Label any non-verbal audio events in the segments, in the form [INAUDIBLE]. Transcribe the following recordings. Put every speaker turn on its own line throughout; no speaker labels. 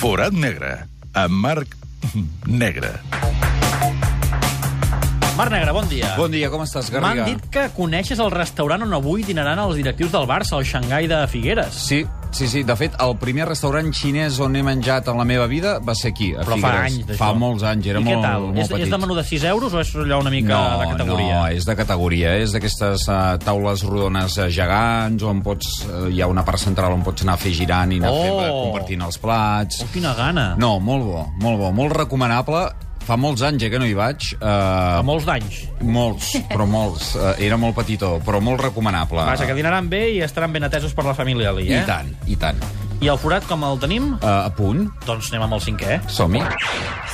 Forat negre, amb Marc Negre.
Marc Negre, bon dia.
Bon dia, com estàs,
M'han
Garriga?
dit que coneixes el restaurant on avui dinaran els directius del Barça, al Xangai de Figueres.
Sí, sí, sí. De fet, el primer restaurant xinès on he menjat en la meva vida va ser aquí, a
Però fa
Figueres.
anys, d'això.
Fa molts anys, era
I
molt,
què tal?
molt
és,
petit.
és de menú de 6 euros o és allò una mica
no,
de categoria?
No, és de categoria. És d'aquestes uh, taules rodones eh, gegants on pots... Uh, hi ha una part central on pots anar a fer girant i anar
Oh!
fent, eh, compartint els plats.
Oh, quina gana.
No, molt bo, molt bo, molt recomanable. Fa molts anys eh, que no hi vaig.
A
Uh,
molts d'anys.
molts, però molts. Uh, era molt petitó, però molt recomanable.
Vaja, que dinaran bé i estaran ben atesos per la família Ali, eh?
Ah. I tant, i tant.
I el forat com el tenim?
Uh, a punt,
Doncs anem amb el cinquè.
som-hi.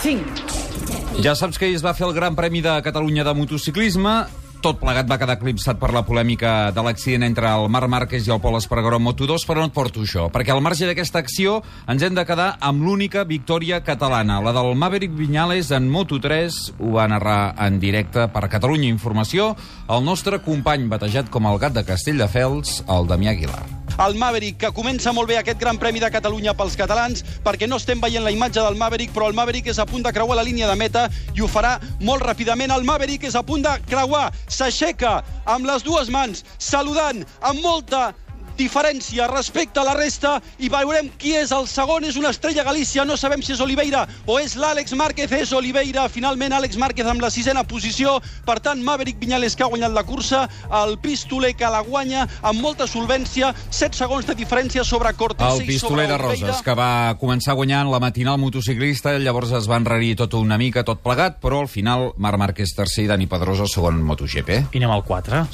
5,
Ja saps que ahir es va fer el Gran Premi de Catalunya de motociclisme. Tot plegat va quedar eclipsat per la polèmica de l'accident entre el Marc Márquez i el Pol Espargaró en Moto2, però no et porto això, perquè al marge d'aquesta acció ens hem de quedar amb l'única victòria catalana, la del Maverick Viñales en Moto3, ho va narrar en directe per Catalunya Informació, el nostre company batejat com el gat de Castelldefels, el Damià Aguilar.
el Maverick, que comença molt bé aquest Gran Premi de Catalunya pels catalans, perquè no estem veient la imatge del Maverick, però el Maverick és a punt de creuar la línia de meta i ho farà molt ràpidament. El Maverick és a punt de creuar, s'aixeca amb les dues mans, saludant amb molta diferència respecte a la resta i veurem qui és el segon. És una estrella Galícia, no sabem si és Oliveira o és l'Àlex Márquez. És Oliveira, finalment Àlex Márquez amb la sisena posició. Per tant, Maverick Viñales que ha guanyat la cursa, el Pistoler que la guanya amb molta solvència, 7 segons de diferència sobre Cortés
El
i sobre
pistoler de
Oliveira.
Roses, que va començar guanyant la matinal motociclista, llavors es va enrarir tot una mica, tot plegat, però al final Marc Márquez tercer i Dani Pedrosa segon en MotoGP.
I anem al 4.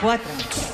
4,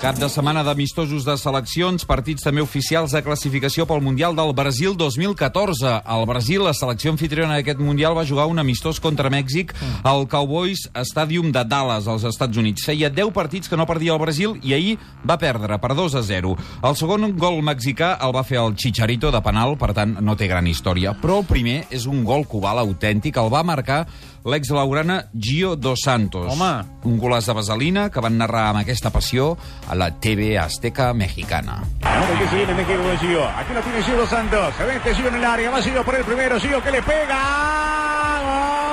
Cap de setmana d'amistosos de seleccions, partits també oficials de classificació pel Mundial del Brasil 2014. Al Brasil, la selecció anfitriona d'aquest Mundial va jugar un amistós contra Mèxic al Cowboys Stadium de Dallas, als Estats Units. Feia 10 partits que no perdia el Brasil i ahir va perdre per 2 a 0. El segon gol mexicà el va fer el Chicharito de penal, per tant, no té gran història. Però el primer és un gol cubal autèntic, el va marcar l'exlaurana Gio Dos Santos.
Home.
Un golaç de vaselina que van narrar amb aquesta passió a la TV Azteca mexicana.
Ahora que se viene, me quedo con Gio. Aquí lo tiene Gio Santos. Se mete Gio en el área. Va Gio por el primero. Gio que le pega. ¡Gol!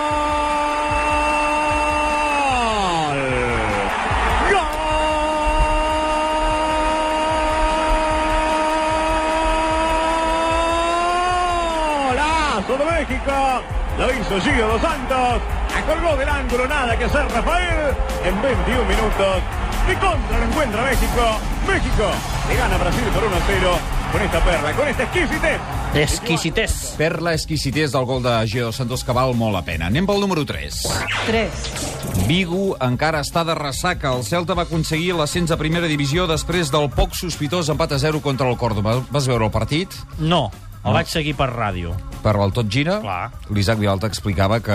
¡Golazo de México! Lo hizo Gio Dos Santos. Acolgó del ángulo. Nada que hacer Rafael. En 21 minutos. De contra lo encuentra México. México le gana a Brasil por 1-0 con esta perla, con este esta exquisitez.
Exquisités.
Per la exquisitez del gol de Gio Santos que val molt la pena. Anem pel número 3.
3,
Vigo encara està de ressaca. El Celta va aconseguir l'ascens a primera divisió després del poc sospitós empat a 0 contra el Córdoba. Vas veure el partit?
No, el vaig seguir per ràdio.
Per el tot gira,
Clar.
l'Isaac Vilalta explicava que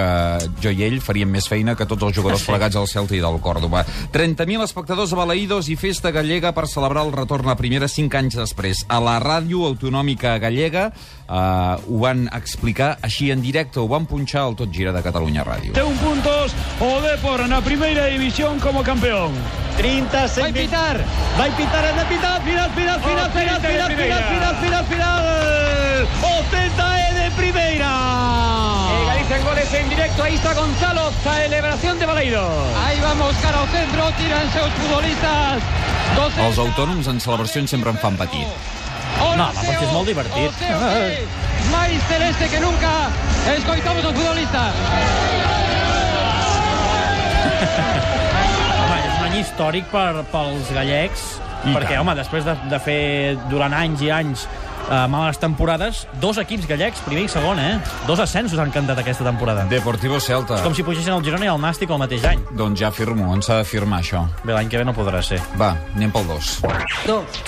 jo i ell faríem més feina que tots els jugadors
Sí.
plegats del Celta i del Còrdoba. 30.000 espectadors balaïdos i festa gallega per celebrar el retorn a primera 5 anys després. A la ràdio autonòmica gallega eh, ho van explicar així en directe, ho van punxar al tot gira de Catalunya Ràdio.
un puntos o Depor en la primera división como campeón. 30 Va a pitar, va a pitar, va a pitar, final, final, final, final, final, final, final, final, final. Ocenta es de primera. Realizan goles Eh, en directo, ahí está Gonzalo, celebración de Valeido. Ahí vamos, cara al centro, tiran seus futbolistas.
Els autònoms en celebracions sempre em fan patir.
No, home, perquè és molt divertit. [LAUGHS]
Más celeste este que nunca, escoitamos los futbolistas.
Home, és un any històric per, pels gallecs, I perquè, tant. home, després de, de fer durant anys i anys eh, males temporades, dos equips gallecs, primer i segon, eh? Dos ascensos han cantat aquesta temporada. De...
Deportivo Celta.
Com si pugessin el Girona i el Nàstic el mateix any.
Doncs ja firmo, on s'ha de firmar això.
Bé, l'any que ve no podrà ser.
Va, anem pel dos.
2,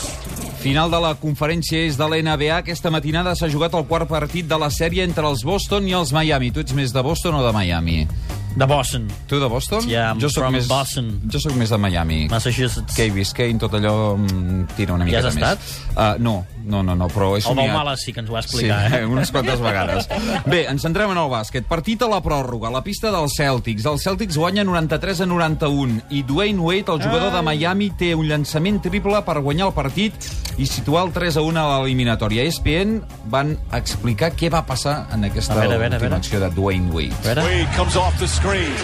Final de la conferència és de l'NBA. Aquesta matinada s'ha jugat el quart partit de la sèrie entre els Boston i els Miami. Tu ets més de Boston o de Miami?
De Boston,
Tu de Boston?
Yeah, I'm
sóc
from
més,
Boston.
Jo sóc més de Miami.
Massachusetts.
Key Biscayne, tot allò mm, tira una miqueta
has
més.
estat?
Uh, no, No, no, no, però he
El
somiat.
Bau Males sí que ens ho va explicar,
sí,
eh?
[LAUGHS] unes quantes vegades. Bé, ens centrem en el bàsquet. Partit a la pròrroga, a la pista dels Celtics. Els Celtics guanya 93 a 91 i Dwayne Wade, el jugador de Miami, té un llançament triple per guanyar el partit i situar el 3 a 1 a l'eliminatòria. E ESPN van explicar què va passar en aquesta
A veure, a veure, a veure.
última acció de Dwayne
A
Wade.
veure.
[LAUGHS]
Wade comes off the screen.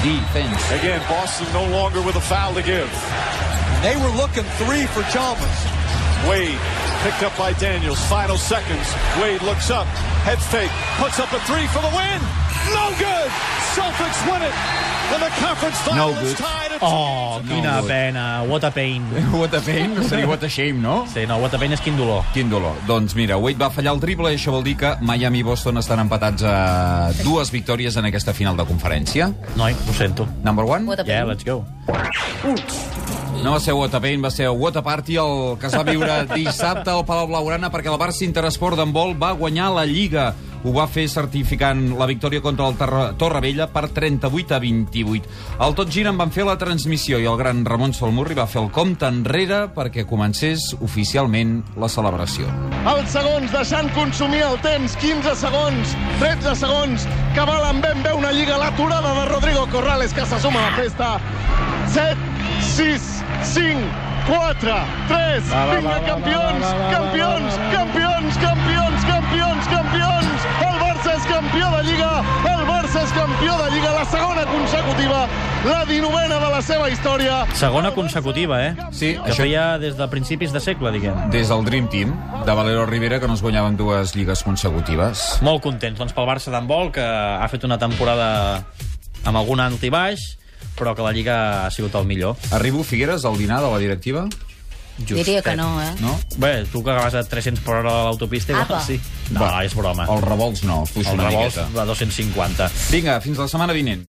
Defense.
Again, Boston no longer with a foul to give.
They were looking three for Chalmers.
Wade picked up by Daniels. Final seconds. Wade looks up, head fake, puts up a three for the win. No good. Celtics win it, and the conference final
No
is
good.
tied at.
Oh, quina
no.
pena. What a pain.
What a pain, seria what a shame, no?
Sí, no, what a pain és quin dolor.
Quin dolor. Doncs mira, Wade va fallar el triple i això vol dir que Miami i Boston estan empatats a dues victòries en aquesta final de conferència.
Noi, ho sento.
Number one?
What a
Yeah,
pain.
let's go.
No va ser What a Pain, va ser What a Party, el que es va
[LAUGHS]
viure dissabte al Palau Blaugrana perquè el Barça Interesport d'handbol va guanyar la Lliga. Ho va fer certificant la victòria contra el Terra Torrevella per 38 a 28. El Tot Gira en van fer la transmissió i el gran Ramon Solmurri va fer el compte enrere perquè comencés oficialment la celebració.
Els segons, deixant consumir el temps, 15 segons, 13 segons, que valen ben bé una lliga, l'aturada de Rodrigo Corrales, que se suma a la festa. 7, 6, 5, 4, 3, vinga, campions, campions, campions, campions, campions, campions! El Barça és campió de Lliga, el Barça és campió de Lliga, la segona consecutiva, la 19a de la seva història.
Segona consecutiva, eh?
Sí,
que
això-
això... feia des de principis de segle, diguem.
Des del Dream Team de Valero Rivera, que no es guanyaven dues lligues consecutives.
Molt contents, doncs, pel Barça d'handbol, que ha fet una temporada amb algun altibaix, però que la Lliga ha sigut el millor.
Arribo, Figueres, al dinar de la directiva?
Justet.
Diria que no, eh?
No?
Bé, tu que vas a 300 per hora a l'autopista, igual
Apa.
sí. No, és broma.
Els revolts no, fuix
El
una
revolt
miqueta.
de 250.
Vinga, fins la setmana vinent.